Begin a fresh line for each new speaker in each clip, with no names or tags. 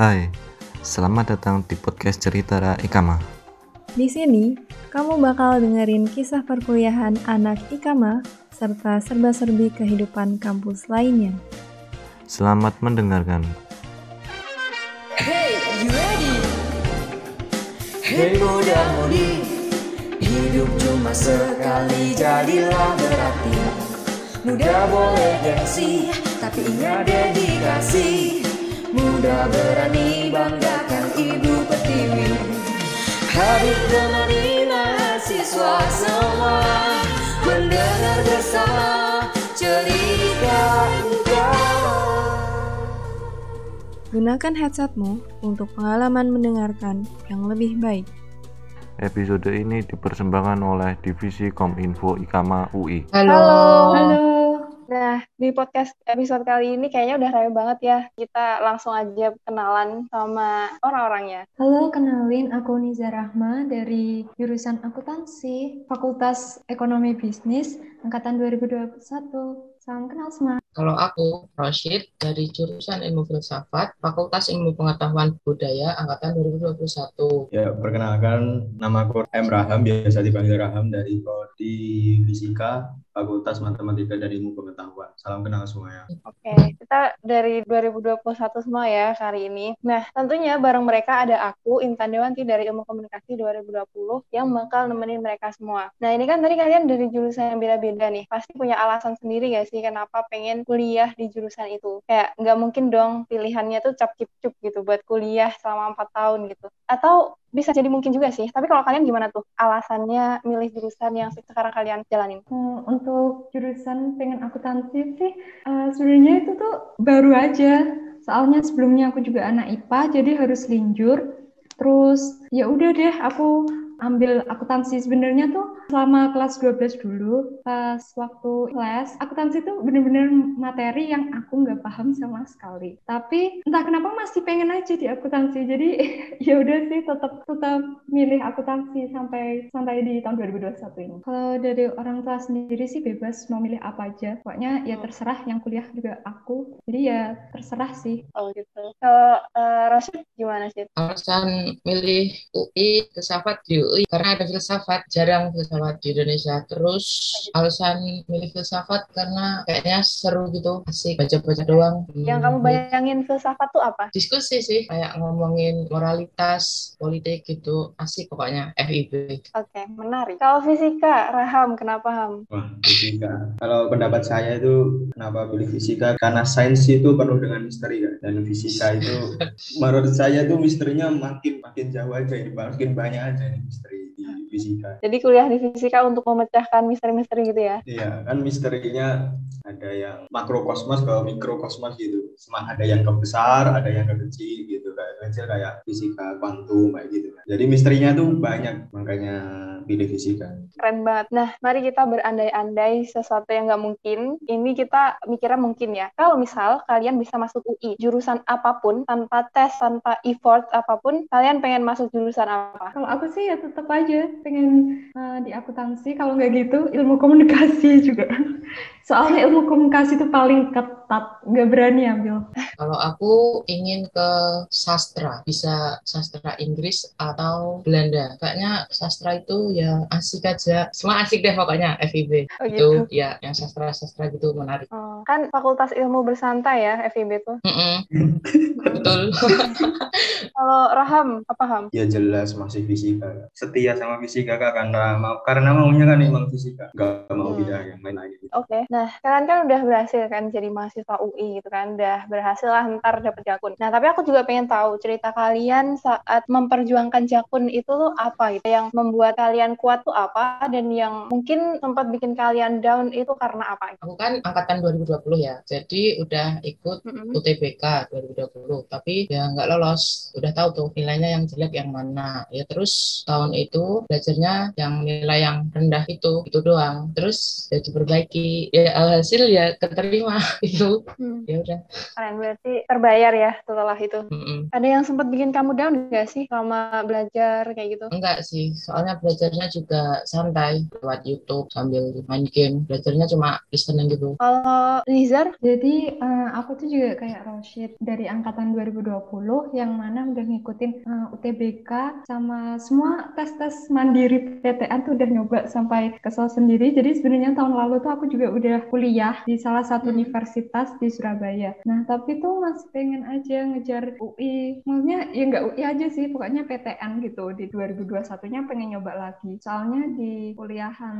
Hai, selamat datang di podcast cerita Ra Ikama.
Di sini, kamu bakal dengerin kisah perkuliahan anak Ikama serta serba-serbi kehidupan kampus lainnya.
Selamat mendengarkan.
Hey, you ready? Hey muda mudi Hidup cuma sekali jadilah berarti Muda boleh gengsi Tapi ingat dedikasi Muda berani banggakan ibu pertiwi Hadir temani mahasiswa semua Mendengar bersama cerita indah
Gunakan headsetmu untuk pengalaman mendengarkan yang lebih baik.
Episode ini dipersembahkan oleh Divisi Kominfo Ikama UI.
Halo.
Nah, di podcast episode kali ini kayaknya udah rame banget ya. Kita langsung aja kenalan sama ya. orang-orangnya.
Halo, kenalin aku Niza Rahma dari jurusan akuntansi Fakultas Ekonomi Bisnis angkatan 2021. Salam kenal semua.
Kalau aku, Roshid, dari jurusan Ilmu Filsafat, Fakultas Ilmu Pengetahuan Budaya, Angkatan 2021.
Ya, perkenalkan nama aku M. Raham, biasa dipanggil Raham dari Prodi Fisika, Fakultas Matematika dan Ilmu Pengetahuan. Salam kenal semuanya.
Oke, kita dari 2021 semua ya kali ini. Nah, tentunya bareng mereka ada aku, Intan Dewanti dari Ilmu Komunikasi 2020 yang bakal nemenin mereka semua. Nah, ini kan tadi kalian dari jurusan yang beda-beda nih. Pasti punya alasan sendiri gak sih kenapa pengen kuliah di jurusan itu? Kayak nggak mungkin dong pilihannya tuh cap cip cup gitu buat kuliah selama 4 tahun gitu. Atau bisa jadi mungkin juga sih. Tapi kalau kalian gimana tuh alasannya milih jurusan yang sekarang kalian jalanin?
Hmm, Untuk jurusan pengen akuntansi sih, eh, sebenarnya itu tuh baru aja. Soalnya sebelumnya aku juga anak IPA, jadi harus linjur. Terus ya udah deh, aku ambil akuntansi sebenarnya tuh selama kelas 12 dulu pas waktu les akuntansi tuh bener-bener materi yang aku nggak paham sama sekali tapi entah kenapa masih pengen aja di akuntansi jadi ya udah sih tetap tetap milih akuntansi sampai sampai di tahun 2021 ini kalau Eh, dari orang tua sendiri sih bebas mau milih apa aja pokoknya ya terserah yang kuliah juga aku jadi ya terserah sih
Oh gitu. Kalau eh, Rashid gimana sih?
Alasan milih UI, filsafat di UI, karena ada filsafat, jarang filsafat di Indonesia. Terus alasan milih filsafat karena kayaknya seru gitu, asik, baca-baca doang.
Yang kamu
Hmm,
bayangin filsafat tuh apa?
Diskusi sih, kayak ngomongin moralitas, politik gitu, asik pokoknya, FIB.
Oke, menarik. Kalau fisika, Raham, kenapa Ham?
Wah, fisika. Kalau pendapat saya itu kenapa pilih fisika? Karena sains itu penuh dengan misteri kan. Dan fisika itu menurut saya itu misterinya makin makin jauh aja, makin banyak aja nih misteri di fisika.
Jadi kuliah di fisika untuk memecahkan misteri-misteri gitu ya.
Iya, kan misterinya ada yang makrokosmos ke mikrokosmos gitu. Cuma ada yang kebesar, ada yang kekecil gitu. Kayak kecil kayak fisika kuantum kayak gitu. kan. Jadi misterinya tuh banyak, makanya pilih fisika.
Keren banget. Nah, mari kita berandai-andai sesuatu yang nggak mungkin. Ini kita mikirnya mungkin ya. Kalau misal kalian bisa masuk UI, jurusan apapun, tanpa tes, tanpa effort apapun, kalian pengen masuk jurusan apa?
Kalau aku sih ya tetap aja pengen eh, di akuntansi, kalau nggak gitu ilmu komunikasi juga. Soalnya ilmu komunikasi itu paling ketat, nggak berani ambil.
Kalau aku ingin ke sastra, bisa sastra Inggris atau Belanda. Kayaknya sastra itu ya asik aja. Semua asik deh pokoknya FIB.
Oh
Itu
gitu.
ya yang sastra-sastra gitu menarik.
Oh, kan Fakultas Ilmu Bersantai ya, FIB tuh.
Mm-mm. Betul.
Kalau Raham, apa Ham?
Ya jelas masih fisika. Setia sama fisika kak karena mau karena maunya kan emang fisika. Gak mau
Hmm.
pindah yang lain lagi.
Oke. Nah, kalian kan udah berhasil kan jadi mahasiswa UI gitu kan. Udah berhasil lah ntar dapet jakun. Nah, tapi aku juga pengen tahu cerita kalian saat memperjuangkan jakun itu tuh apa gitu. Yang membuat kalian kuat tuh apa dan yang mungkin sempat bikin kalian down itu karena apa?
Aku kan angkatan 2020 ya. Jadi udah ikut
Mm-mm.
UTBK 2020 tapi ya nggak lolos udah tahu tuh nilainya yang jelek yang mana ya terus tahun itu belajarnya yang nilai yang rendah itu itu doang terus ya diperbaiki ya alhasil ya keterima itu
Hmm.
ya udah
Kalian berarti terbayar ya setelah itu.
Mm-mm.
Ada yang sempat bikin kamu down gak sih selama belajar kayak gitu?
Enggak sih, soalnya belajarnya juga santai lewat YouTube sambil main game. Belajarnya cuma listening gitu.
Kalau Nizar,
Jadi eh, aku tuh juga kayak Roshid dari angkatan 2020 yang mana udah ngikutin eh, UTBK sama semua tes-tes mandiri PTN tuh udah nyoba sampai kesel sendiri. Jadi sebenarnya tahun lalu tuh aku juga udah kuliah di salah satu universitas di Surabaya. Nah tapi tuh masih pengen aja ngejar UI. Maksudnya ya nggak UI aja sih, pokoknya PTN gitu di 2021-nya pengen nyoba lagi. Soalnya di kuliahan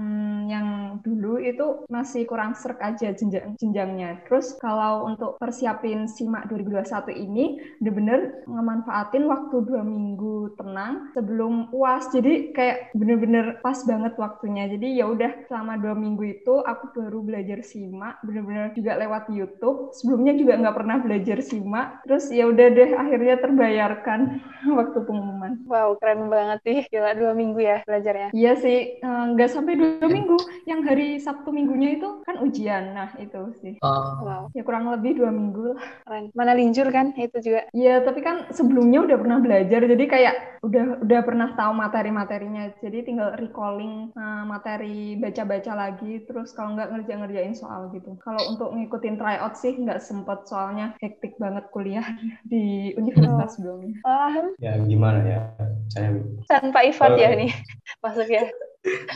yang dulu itu masih kurang serk aja jenjang jenjangnya. Terus kalau untuk persiapin SIMAK 2021 ini bener-bener ngemanfaatin waktu dua minggu tenang sebelum uas. Jadi kayak bener-bener pas banget waktunya. Jadi ya udah selama dua minggu itu aku baru belajar SIMAK bener-bener juga lewat YouTube. Sebelumnya juga nggak pernah belajar SIMAK. Terus ya udah deh akhirnya terbayarkan waktu pengumuman.
wow keren banget sih, gila dua minggu ya belajarnya.
Iya sih, eh, nggak sampai dua minggu. Yang hari Sabtu minggunya itu kan ujian. Nah itu sih.
Oh,
Wow,
Ya kurang lebih dua minggu lah.
keren. Mana linjur kan itu juga.
Iya, tapi kan sebelumnya udah pernah belajar, jadi kayak udah udah pernah tahu materi-materinya. Jadi tinggal recalling eh, materi baca-baca lagi, terus kalau nggak ngerja-ngerjain soal gitu. Kalau untuk ngikutin tryout sih nggak sempet, soalnya hektik banget kuliah di universitas sebelumnya.
Oh, Aham,
ya gimana ya saya
San Pak Ifat ya
Oh.
nih. Masuk ya.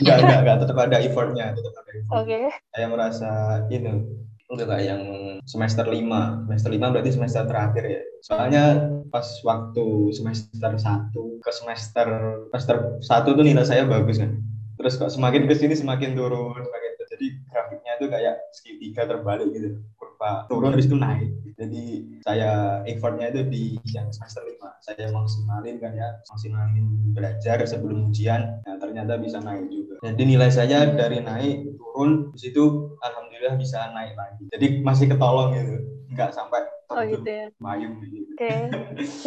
enggak enggak enggak tetap ada effortnya tetap ada effort.
Oke.
saya merasa ini itu kayak yang semester 5 semester 5 berarti semester terakhir ya soalnya pas waktu semester 1 ke semester semester 1 tuh nilai saya bagus kan terus kok semakin ke sini semakin turun semakin turun. jadi grafiknya itu kayak segitiga terbalik gitu kurva turun habis itu naik jadi saya effortnya itu di yang semester 5 saya maksimalin kan ya maksimalin belajar sebelum ujian nah ternyata bisa naik juga jadi nilai saya dari naik turun habis itu alhamdulillah bisa naik lagi jadi masih ketolong gitu nggak sampai
Oh gitu ya.
mayung gitu
Oke.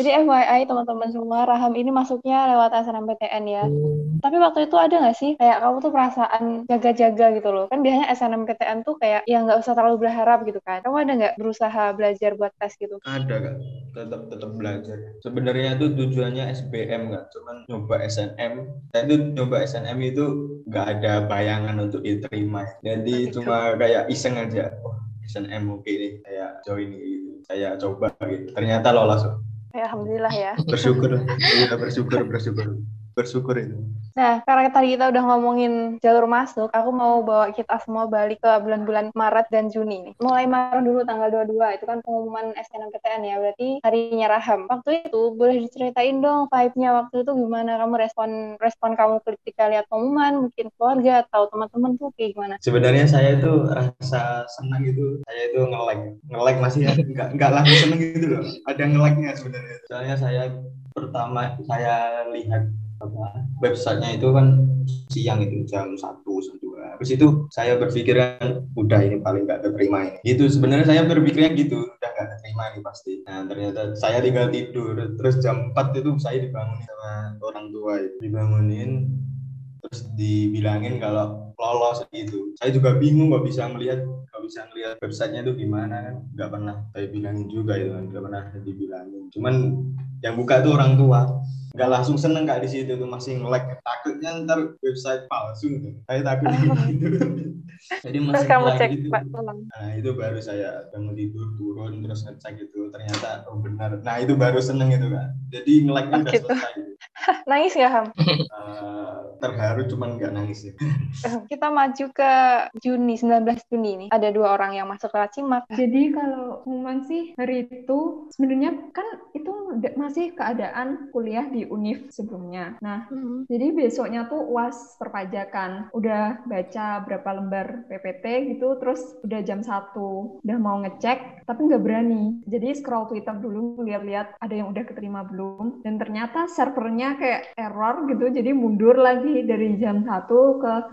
Jadi FYI teman-teman semua, Raham ini masuknya lewat SNMPTN ya.
Hmm,
Tapi waktu itu ada nggak sih kayak kamu tuh perasaan jaga-jaga gitu loh? Kan biasanya SNMPTN tuh kayak ya nggak usah terlalu berharap gitu kan. Kamu ada nggak berusaha belajar buat tes gitu?
ada kak tetap tetap belajar sebenarnya itu tujuannya SBM kak cuman nyoba SNM saya itu nyoba SNM itu nggak ada bayangan untuk diterima jadi
Oke,
cuma kayak iseng aja Wah, SNM oke nih saya join gitu saya coba gitu ternyata lolos kok.
Ya, alhamdulillah ya.
bersyukur iya bersyukur bersyukur bersyukur itu
Nah, karena tadi kita udah ngomongin jalur masuk, aku mau bawa kita semua balik ke bulan-bulan Maret dan Juni nih. Mulai Maret dulu tanggal 22, itu kan pengumuman SNMPTN ya, berarti harinya Raham. Waktu itu boleh diceritain dong vibe-nya waktu itu gimana kamu respon respon kamu ketika lihat pengumuman, mungkin keluarga atau teman-teman tuh kayak gimana?
sebenarnya saya itu rasa senang itu saya itu nge-like nge-like masih ya? nggak nggak langsung seneng gitu loh ada nge-like-nya sebenarnya soalnya saya pertama saya lihat apa websitenya itu kan siang itu jam satu jam dua habis itu saya berpikir kan udah ini paling nggak terima ini gitu sebenarnya saya berpikirnya gitu udah nggak terima ini pasti nah ternyata saya tinggal tidur terus jam 4 itu saya dibangunin sama orang tua itu. dibangunin terus dibilangin kalau lolos gitu saya juga bingung nggak bisa melihat nggak bisa melihat websitenya itu gimana kan nggak pernah saya bilangin juga itu kan nggak pernah dibilangin cuman yang buka itu orang tua nggak langsung seneng kak di situ tuh masih nge-lag takutnya ntar website palsu tuh saya takut gitu jadi
Terus
masih
kamu
nge-lag
cek
gitu.
Pak ulang.
Nah itu baru saya bangun tidur turun terus ngecek itu ternyata oh benar. Nah itu baru seneng itu kak. Jadi nge-lag
Oh,
udah
gitu.
selesai.
Nangis nggak, Ham?
Eh, terharu cuman nggak nangis ya.
Kita maju ke Juni, 19 Juni nih. Ada dua orang yang masuk lewat simak.
Jadi kalau pengumuman sih hari itu sebenarnya kan itu masih keadaan kuliah di univ sebelumnya. Nah
Mm-hmm.
Jadi besoknya tuh UAS perpajakan, udah baca berapa lembar PPT gitu, terus udah jam 1, udah mau ngecek, tapi nggak berani. Jadi scroll Twitter dulu, lihat-lihat ada yang udah keterima belum, dan ternyata servernya kayak error gitu, jadi mundur lagi dari jam 1 ke 1.10,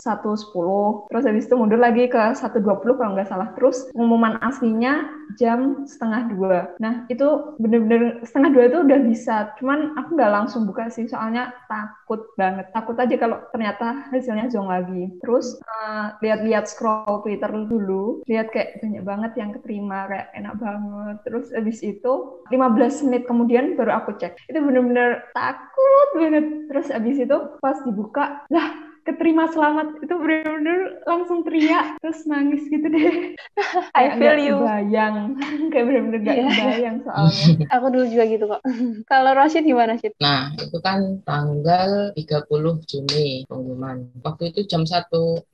terus habis itu mundur lagi ke 1.20 kalau nggak salah. Terus pengumuman aslinya jam setengah dua. Nah itu bener-bener setengah dua itu udah bisa, cuman aku nggak langsung buka sih, soalnya takut banget. Takut aja kalau ternyata hasilnya zonk lagi. Terus eh, lihat-lihat scroll Twitter dulu, lihat kayak banyak banget yang keterima, kayak enak banget. Terus abis itu 15 menit kemudian baru aku cek. Itu bener-bener takut banget. Terus abis itu pas dibuka, lah keterima selamat itu bener-bener langsung teriak terus nangis gitu deh
I
Kayak
feel
nggak
you.
kebayang kayak bener-bener gak
Iya.
kebayang soalnya
Aku dulu juga gitu kok. Kalau Rashid gimana sih?
Nah, itu kan tanggal 30 Juni pengumuman. Waktu itu jam 1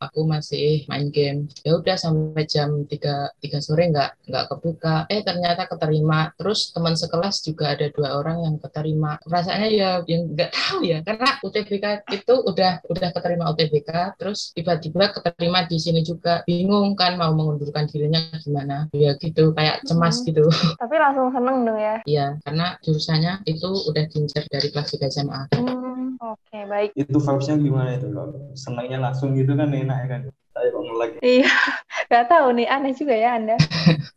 aku masih main game. Ya udah sampai jam 3, 3 sore nggak nggak kebuka. Eh ternyata keterima. Terus teman sekelas juga ada dua orang yang keterima. Rasanya ya yang nggak tahu ya karena UTBK itu udah udah keterima UTBK terus tiba-tiba keterima di sini juga. Bingung kan mau mengundurkan dirinya gimana. Ya gitu kayak cemas
Mhm.
gitu.
Tapi langsung seneng dong ya.
Iya, karena jurusannya itu udah diincar dari kelas 3 SMA.
Hmm, Oke, baik.
Itu vibes-nya gimana itu? Senangnya langsung gitu kan enak ya kan? Saya kok ngelag.
Iya, nggak tahu nih, aneh juga ya Anda.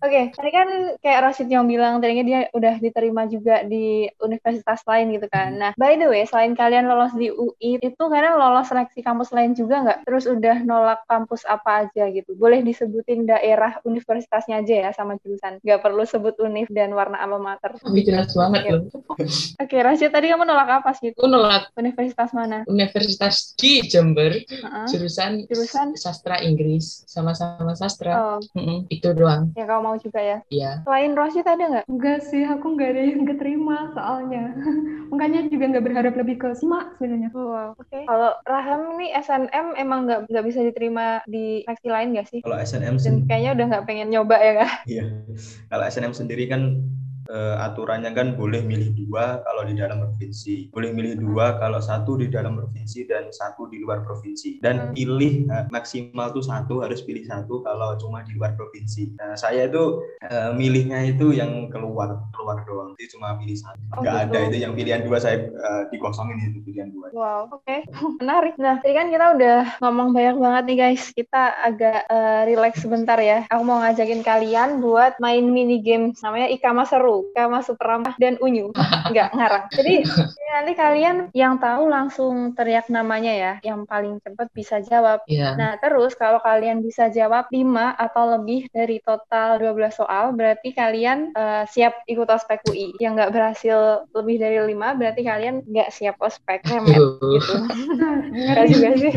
Oke, tadi kan kayak Rashid yang bilang tadinya dia udah diterima juga di universitas lain gitu kan. Nah, by the way, selain kalian lolos di UI, itu kalian lolos seleksi kampus lain juga nggak? Terus udah nolak kampus apa aja gitu? Boleh disebutin daerah universitasnya aja ya sama jurusan. Nggak perlu sebut univ dan warna alma mater.
Tapi jelas banget
Iya.
loh.
Oke, Rashid tadi kamu nolak apa sih?
Aku nolak
Universitas mana?
universitas di Jember,
Heeh.
jurusan
Jurusan?
sastra Inggris, sama-sama sastra.
Oh,
Mm-mm, itu doang,
yang kamu mau juga ya.
iya.
Selain Rashid ada nggak?
enggak sih aku nggak ada yang keterima soalnya makanya juga nggak berharap lebih ke SMA sebenarnya
Wow, oke. Kalau Raham nih SNM emang nggak nggak bisa diterima di seleksi lain nggak sih?
Kalau SNM
Dan
sendiri,
kayaknya udah nggak pengen nyoba ya kak?
iya. Kalau SNM sendiri kan eh, aturannya kan boleh milih dua kalau di dalam provinsi, boleh milih dua kalau satu di dalam provinsi dan satu di luar provinsi. Dan
Hmm.
pilih eh, maksimal tuh satu harus pilih satu kalau cuma di luar provinsi. Nah, saya itu eh, milihnya itu yang keluar keluar doang, itu cuma pilih satu.
Oh,
Nggak ada
gitu.
itu yang pilihan dua saya eh, dikosongin itu pilihan dua.
Wow, oke, menarik. Nah, tadi kan kita udah ngomong banyak banget nih guys. Kita agak eh, relax sebentar ya. Aku mau ngajakin kalian buat main mini game namanya Ikama Seru, Ikama Super Ramah dan Unyu. Nggak ngarang. Jadi jadi nanti kalian yang tahu langsung teriak namanya ya. Yang paling cepat bisa jawab.
Iya.
Nah, terus kalau kalian bisa jawab 5 atau lebih dari total 12 soal, berarti kalian eh, siap ikut ospek UI. Yang nggak berhasil lebih dari 5, berarti kalian nggak siap ospek. Remet
Tuh.
gitu. Nggak
Ngeri.
juga sih.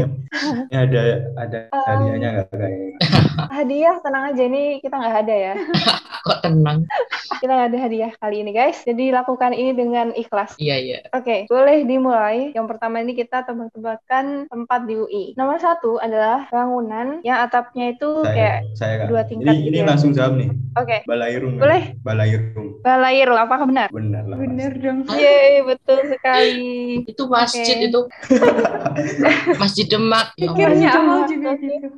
Ini ada ada hadiahnya nggak kayaknya?
Um, Hadiah, tenang aja. Ini kita nggak ada ya.
Kok tenang?
Kita nggak ada hadiah kali ini, guys. Jadi, lakukan ini dengan ikhlas.
Iya, iya.
Oke, boleh dimulai. Yang pertama ini kita tebak-tebakan tempat di UI. Nomor satu adalah bangunan yang atapnya itu kayak...
saya saya Kak.
dua tingkat
ini, ini
gitu ya.
langsung jawab nih
Oke,
balairung Kak.
Boleh.
balairung
balai Ru, apakah benar?
benar lah
bener dong
Yeay, Iya, betul sekali.
Itu masjid
Oke.
itu. masjid Demak. Ya Allah.
Pikirnya
Jamal
apa?
juga gitu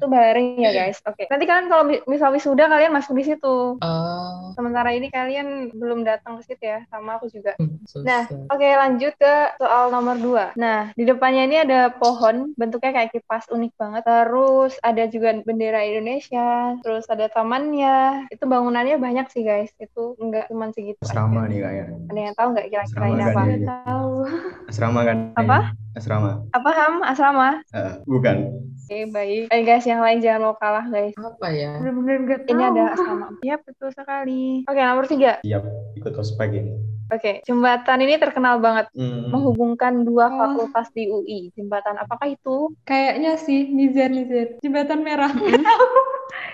Itu bareng ya, guys. Oke. Nanti kalian kalau mi- misal wisuda kalian masuk di situ.
Eh,
Sementara ini kalian belum datang ke situ ya, sama aku juga.
Ah, susah.
Nah, oke lanjut ke soal nomor 2. Nah, di depannya ini ada pohon, bentuknya kayak kipas unik banget. Terus ada juga bendera Indonesia, terus ada tamannya. Itu bangunannya banyak sih, guys. Itu enggak cuma segitu. aja.
asrama nih ya. kayaknya
Ada yang tahu nggak kira-kira
Asrama kan
ini
ya?
apa?
nggak tahu
asrama kan ini?
Apa?
asrama
Apa ham asrama?
Heeh, bukan
Oke, baik. Eh, guys, yang lain jangan mau kalah, guys.
apa ya?
bener-bener nggak tahu
Ini ada asrama. Ya, betul sekali. Oke, nomor tiga.
siap ikut ospek ini
Oke, jembatan ini terkenal banget
Hmm,
menghubungkan dua
Oh.
fakultas di UI. Jembatan apakah itu?
kayaknya sih Nizar Nizar jembatan merah
Hmm?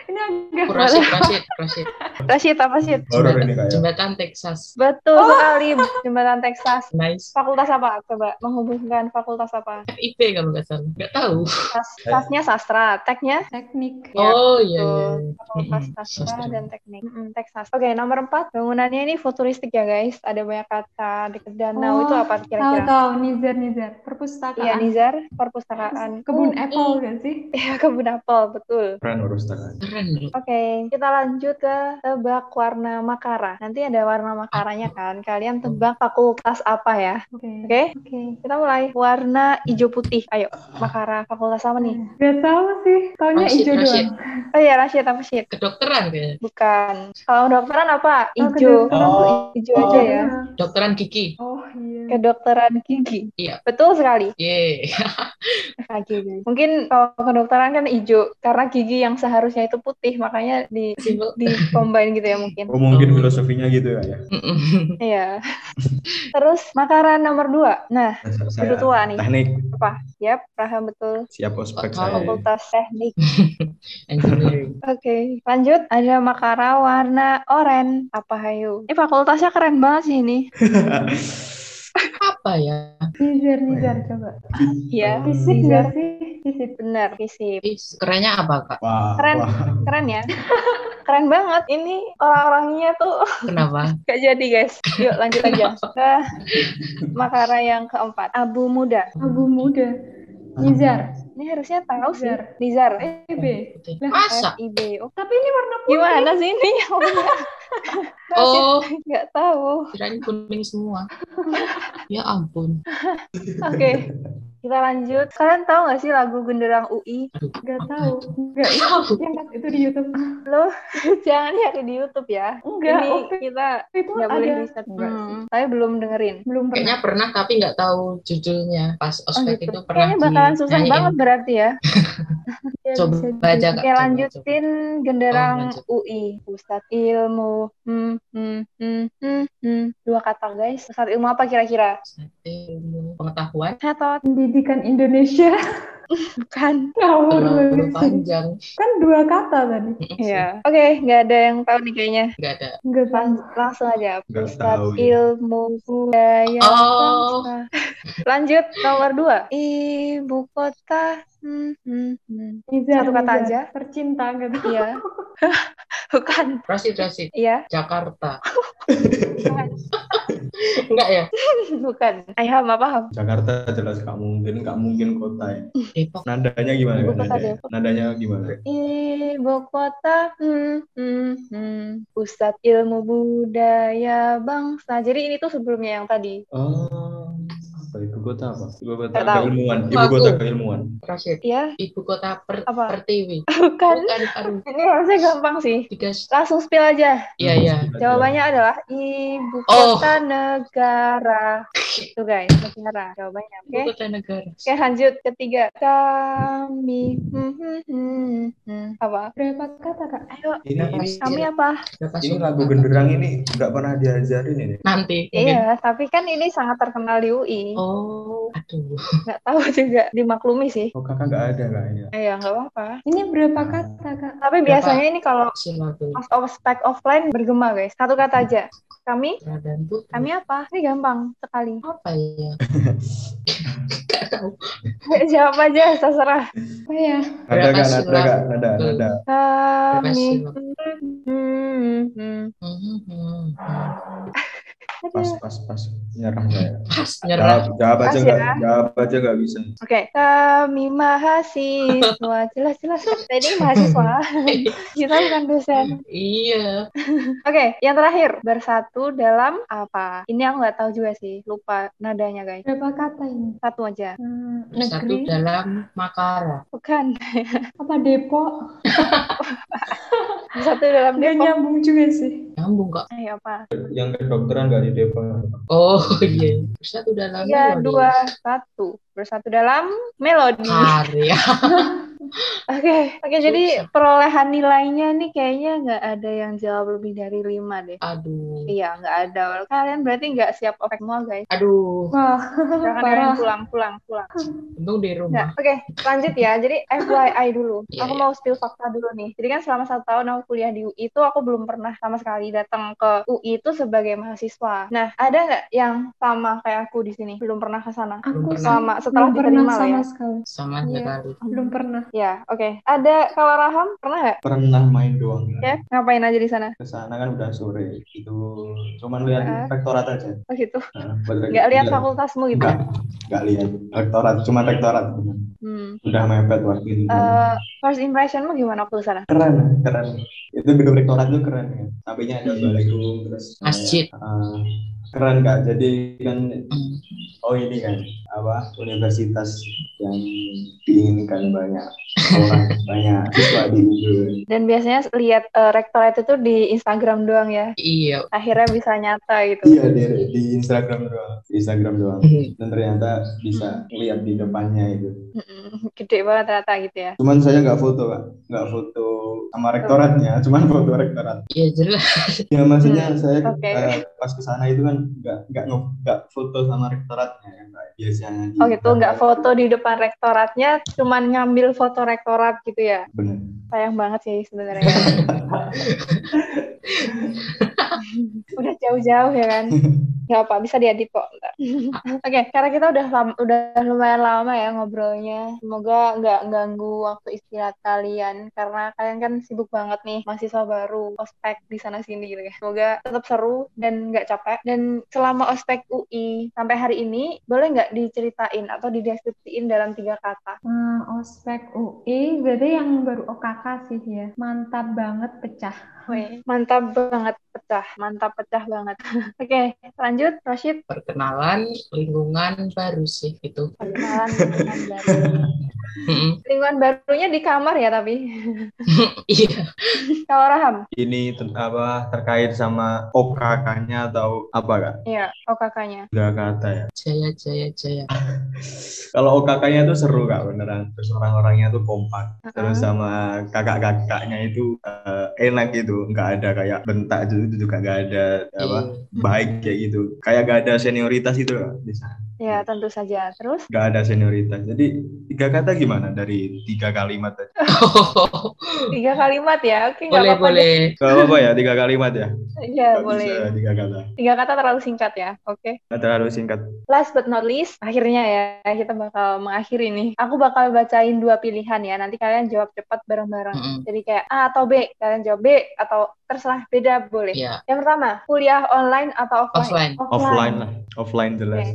ini agak
Rasid, Rasid, Rasid.
Rashid, apa sih?
Oh,
horor ini kayaknya
Jembatan Texas.
Betul
Oh.
sekali, jembatan Texas.
Nice.
Fakultas apa? Coba menghubungkan fakultas apa?
FIP kalau nggak salah. Nggak tahu.
Sas, sasnya sastra, teknya
teknik
Ya,
oh, iya,
betul.
iya.
fakultas
Mm-mm,
sastra
sastra.
dan teknik. Mm-mm, Texas. Oke, nomor empat. Bangunannya ini futuristik ya, guys. Ada banyak kata, dekat danau.
Oh,
itu apa
tahu
kira-kira?
tahu Nizar Nizar
Iya,
perpustakaan
Nizar, perpustakaan.
kebun
Oh,
apple gak sih
Iya, kebun apel, betul.
keren urus tak
Keren loh.
Oke, kita lanjut ke tebak warna Makara. Nanti ada warna Makaranya kan. Kalian tebak fakultas apa ya?
Oke.
Oke,
Oke.
kita mulai. Warna hijau putih. Ayo, Makara fakultas apa nih?
Gak tahu sih, taunya
Rashid,
hijau
Rashid.
doang.
Oh iya, Rashid apa Syed?
Kedokteran kayaknya.
Bukan. Kalau kedokteran apa?
Oh,
Hijau.
kedokteran.
Oh,
Hijau aja ya.
Dokteran gigi.
Oh iya.
Kedokteran gigi.
Iya.
Betul sekali.
Yeay.
Oke, guys. Mungkin kalau kedokteran kan hijau karena gigi yang seharusnya itu putih, makanya di
Simple.
di combine gitu ya mungkin.
oh mungkin filosofinya gitu ya.
Mm-mm.
Iya. Terus makaran nomor dua. Nah,
Saya
Udah tua nih.
Teknik
apa? Yap, paham betul.
siap ospek
Oh,
saya.
Fakultas teknik.
Engineering.
Oke, lanjut. Ada makara warna oren. Apa hayu? Ini fakultasnya keren banget sih ini.
Apa ya?
Nizar, Nizar coba.
Iya.
Fisik
Nizar.
nggak sih? Fisik.
Benar, fisip.
Ih, kerennya apa kak?
Wah,
Keren.
wah.
Keren ya. Keren banget. Ini orang-orangnya tuh
Kenapa?
gak jadi guys. Yuk lanjut aja. Ke makara yang keempat. Abu muda.
Abu muda. Nizar.
Ini harusnya tahu sih.
Nizar.
Nizar.
Eh,
EB.
Putih.
nah,
Lah,
Masa?
FIB. Oh,
Tapi ini warna putih.
gimana sih ini? Rasid
Oh,
nggak tahu.
kirain kuning semua. Ya ampun.
Oke, kita lanjut. Kalian tahu nggak sih lagu Genderang UI?
Gak tahu. Gak
Tahu.
yang pas itu di YouTube. Ah,
Loh, jangan nyari di YouTube ya.
Enggak,
Ini
oke.
kita
Itu
nggak boleh
ada.
di set Hmm, Tapi belum dengerin.
Belum pernah.
Kayaknya pernah tapi nggak tahu judulnya. Pas
Oh,
ospek
gitu.
itu pernah.
Kayaknya bakalan susah
dinyanyiin.
banget berarti ya. Ya,
Coba
bisa
aja, Kak.
jadi. Oke,
Coba,
lanjutin Genderang
Oh, lanjut.
UI. Pusat ilmu. Hmm, hmm, hmm, hmm, hmm. Dua kata guys. Pusat ilmu apa kira-kira?
Ilmu pengetahuan
Atau
Pendidikan Indonesia.
bukan?
Tahu
terlalu
dua kali.
panjang.
Kan dua kata tadi.
Iya. Oke, nggak ada yang tahu nih kayaknya.
Nggak ada.
Enggak tahu.
Lang- langsung aja
Nggak
Pusat
tahu ya.
Ilmu Budaya
Oh.
Bangsa. Lanjut nomor dua Ibu kota hmm, hmm, hmm.
Nizar,
Satu kata
Nizar.
aja.
Tercinta gak tahu.
Iya Bukan
Rasid, Rasid.
Iya
Jakarta.
bukan.
Enggak ya?
Bukan Ayah apa paham
Jakarta jelas nggak mungkin, nggak mungkin kota ya.
Depok.
Nadanya gimana?
Ibu
Kak?
kota
nadanya?
Depok.
nadanya gimana?
Ibu kota hmm, hmm, hmm. Pusat Ilmu Budaya Bangsa Jadi ini tuh sebelumnya yang tadi
Oh, apa ibu kota apa? Ibu kota
Nggak tahu.
keilmuan, ibu
Aku.
kota keilmuan.
Rasid.
Iya
Ibu kota per
Apa?
Pertiwi.
bukan
Bukan, aduh.
Ini harusnya gampang sih
Tiga.
Langsung spill aja
Iya, iya.
Jawabannya adalah ibu
Oh.
kota negara. Itu guys, negara jawabannya. Oke.
Ibu kota negara.
Oke, lanjut ketiga. Kami hmm, hmm, hmm, hmm. apa?
Berapa kata, Kak?
Ayo,
Ini, ini,
kami apa?
Berapa
ini
suku?
lagu genderang ini nggak pernah diajarin ini.
Nanti. mungkin.
Iya, tapi kan ini sangat terkenal di UI.
Oh, aduh.
Nggak tahu juga dimaklumi sih.
Oh kakak nggak ada kayaknya.
Eh, ya nggak apa-apa.
Ini berapa kata, Kak?
Tapi
Berapa?
biasanya ini kalau
Si lagu
pas ospek offline bergema guys. Satu kata aja. Kami,
Radan Putri.
kami apa? Ini gampang sekali.
apa ya? Nggak tahu.
Jawab aja, terserah.
Apa ya?
Nada
Berapa
kak, nada
silang?
kak, nada, nada.
Kami.
Terima
Hmm, hmm.
Hmm, hmm, hmm.
Pas, pas, pas. Nyerah saya.
Pas
Jawab,
nyerah.
jawab aja
Pas
nggak,
ya.
jawab aja nggak bisa.
Oke, kami mahasiswa. Jelas-jelas kan kita ini mahasiswa. kita bukan dosen.
Iya.
Oke, yang terakhir bersatu dalam apa? Ini aku nggak tahu juga sih, lupa nadanya guys.
Berapa kata ini?
Satu aja.
Hmm,
Satu
negeri
dalam Makara.
Bukan
apa Depok?
bersatu dalam
Gak
Depok.
nyambung juga sih.
Nyambung kak.
Ayo apa?
Yang kedokteran nggak di Depok.
Oh iya. Satu dalam
Tiga,
melodi.
Iya, dua, satu. Bersatu dalam melodi.
Karya.
Oke, oke. jadi perolehan nilainya nih kayaknya nggak ada yang jawab lebih dari lima deh.
Aduh.
Iya, nggak ada. Kalian berarti nggak siap ospek semua guys.
Aduh.
Wah,
Jangan kalian
parah.
pulang, pulang, pulang.
Untung di
Nggak,
rumah.
oke, lanjut ya. Jadi FYI dulu.
Iya,
aku
iya.
mau spill fakta dulu nih. Jadi kan selama satu tahun aku kuliah di UI itu aku belum pernah sama sekali datang ke UI itu sebagai mahasiswa. Nah, ada nggak yang sama kayak aku di sini? Belum pernah ke sana.
Aku
Belum pernah.
sama
Selama setelah
belum pernah
diterima loh
sama
ya.
sekali.
Sama
Iya.
sekali.
Belum pernah.
Ya, oke. Ada kalau Raham pernah nggak?
pernah main doang
Ya, ngapain aja di sana?
ke sana kan udah sore gitu cuman lihat
Ah.
rektorat aja
Oh gitu.
Nah, buat rek-
Nggak lihat fakultasmu gitu?
Nggak, nggak lihat rektorat cuma rektorat
Hmm.
udah mepet waktu ini
Eh, first impressionmu gimana waktu di sana?
keren keren itu gedung rektorat tuh keren ya sampingnya ada balaikum terus kayak,
Masjid.
eh, keren kak jadi kan
Hmm.
oh ini kan apa universitas yang diinginkan banyak orang banyak siswa di Ubud
Dan biasanya lihat eh, rektorat itu di Instagram doang ya.
Iya.
Akhirnya bisa nyata gitu.
iya di, di Instagram doang di Instagram doang dan ternyata bisa lihat di depannya itu
Mm-mm. Gede banget ternyata gitu ya.
cuman saya nggak foto kak nggak foto sama rektoratnya cuman foto rektorat
Iya jelas.
ya maksudnya saya
Hmm. oke.
eh, pas ke sana itu kan nggak nggak nge- nggak foto sama rektoratnya kan Kak. biasanya di-
Oh gitu, nggak foto di depan rektoratnya, cuman ngambil foto rektorat gitu ya.
bener
Sayang banget sih sebenarnya. udah jauh-jauh ya kan. Gak apa, bisa diedit kok. ntar. Oke, karena kita udah lam- udah lumayan lama ya ngobrolnya. Semoga nggak ganggu waktu istirahat kalian karena kalian kan sibuk banget nih, mahasiswa baru, ospek di sana sini gitu ya. Semoga tetap seru dan nggak capek. Dan selama ospek UI sampai hari ini, boleh nggak diceritain atau dideskripsiin dalam tiga kata?
Eh, ospek UI berarti yang baru OKK sih ya. Mantap banget pecah.
Weh, mantap banget pecah, mantap pecah banget. Oke, lanjut Rashid
Perkenalan lingkungan baru sih gitu. Hmm. itu.
perkenalan lingkungan baru.
Mm-mm.
Lingkungan barunya di kamar ya tapi.
Iya.
Kalau Raham,
ini ter- apa terkait sama OKK-nya atau apa kak
iya, oh kakaknya.
udah kata ya
Jaya jaya jaya.
kalau OKK-nya tuh seru kak beneran terus orang-orangnya tuh kompak
Hmm.
terus sama kakak-kakaknya itu eh, enak gitu nggak ada kayak bentak gitu, itu itu juga nggak ada
Iya.
Iya.
apa baik kayak gitu kayak gak ada senioritas itu loh di sana
Ya, tentu saja. Terus
gak ada senioritas jadi tiga kata gimana dari tiga kalimat aja
tiga kalimat ya. Oke, nggak
boleh
apa-apa.
boleh.
gak apa, apa ya tiga kalimat ya
Iya,
Gak
boleh.
bisa tiga kata
Tiga kata terlalu singkat ya. Oke.
Gak terlalu singkat
Last but not least, akhirnya ya kita bakal mengakhiri nih. Aku bakal bacain dua pilihan ya. Nanti kalian jawab cepat bareng-bareng.
Mm-mm.
Jadi kayak A atau B, kalian jawab B atau terserah beda boleh.
Iya.
Yang pertama, kuliah online atau offline? ya.
Offline.
offline lah offline jelas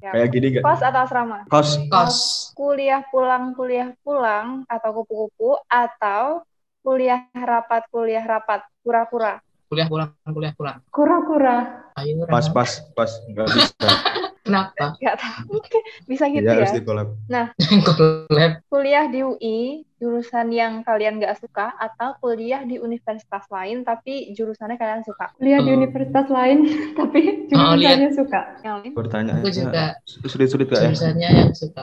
Siap.
kayak gini gak
Kos atau asrama?
kos
Kos.
Kuliah pulang, kuliah pulang atau kupu-kupu atau kuliah rapat, kuliah rapat, kura-kura.
Kuliah pulang kuliah pulang.
Kura-kura.
Ayo. Rama.
pas pas pas nggak bisa
Kenapa?
Gak tahu. Bisa gitu
ya
ya.
harus dikolab
Collab.
Kuliah di UI, jurusan yang kalian gak suka atau kuliah di universitas lain tapi jurusannya kalian suka.
Kuliah di
Hmm.
universitas lain tapi
Oh, lihat.
jurusannya suka.
Yang lain?
pertanyaan
Aku juga
sulit-sulit gak ya
jurusannya yang suka.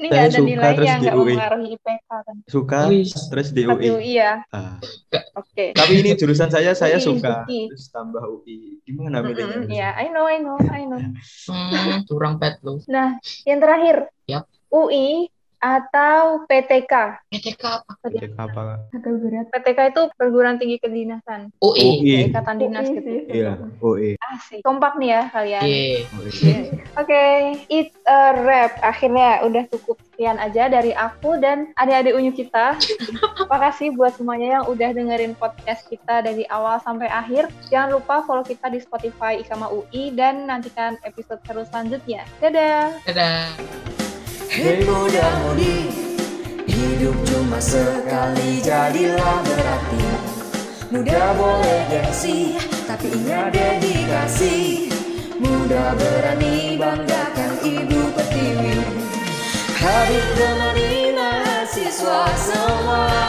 Ini
Saya
gak ada
suka,
nilai
terus
yang
di
gak
UI.
mempengaruhi IPK kan.
suka
Wih.
terus di
Tapi
UI
UI ya.
Ah.
Oke.
tapi ini jurusan saya saya
UI,
suka
UI.
terus tambah UI gimana
Mm-mm,
bedanya
Iya, I know, I know, I know.
Hmm, kurang pet lu.
Nah, yang terakhir.
Yap.
UI atau PTK?
PTK apa?
Cek apa Kak?
Agak berat.
PTK itu perguruan tinggi kedinasan,
UI.
ya,
UI
ikatan dinas
UI
gitu.
sih.
iya UI
Asik. Kompak nih ya kalian.
Iya.
UI
Oke, it's a wrap. Akhirnya udah cukup sekian aja dari aku dan adik-adik unyu kita. Makasih buat semuanya yang udah dengerin podcast kita dari awal sampai akhir. Jangan lupa follow kita di Spotify Ikama UI dan nantikan episode seru selanjutnya. Dadah!
Dadah.
Hei muda mudi Hidup cuma sekali jadilah berarti Muda boleh gengsi Tapi ingat dedikasi Muda berani banggakan ibu pertiwi Hadir temani mahasiswa semua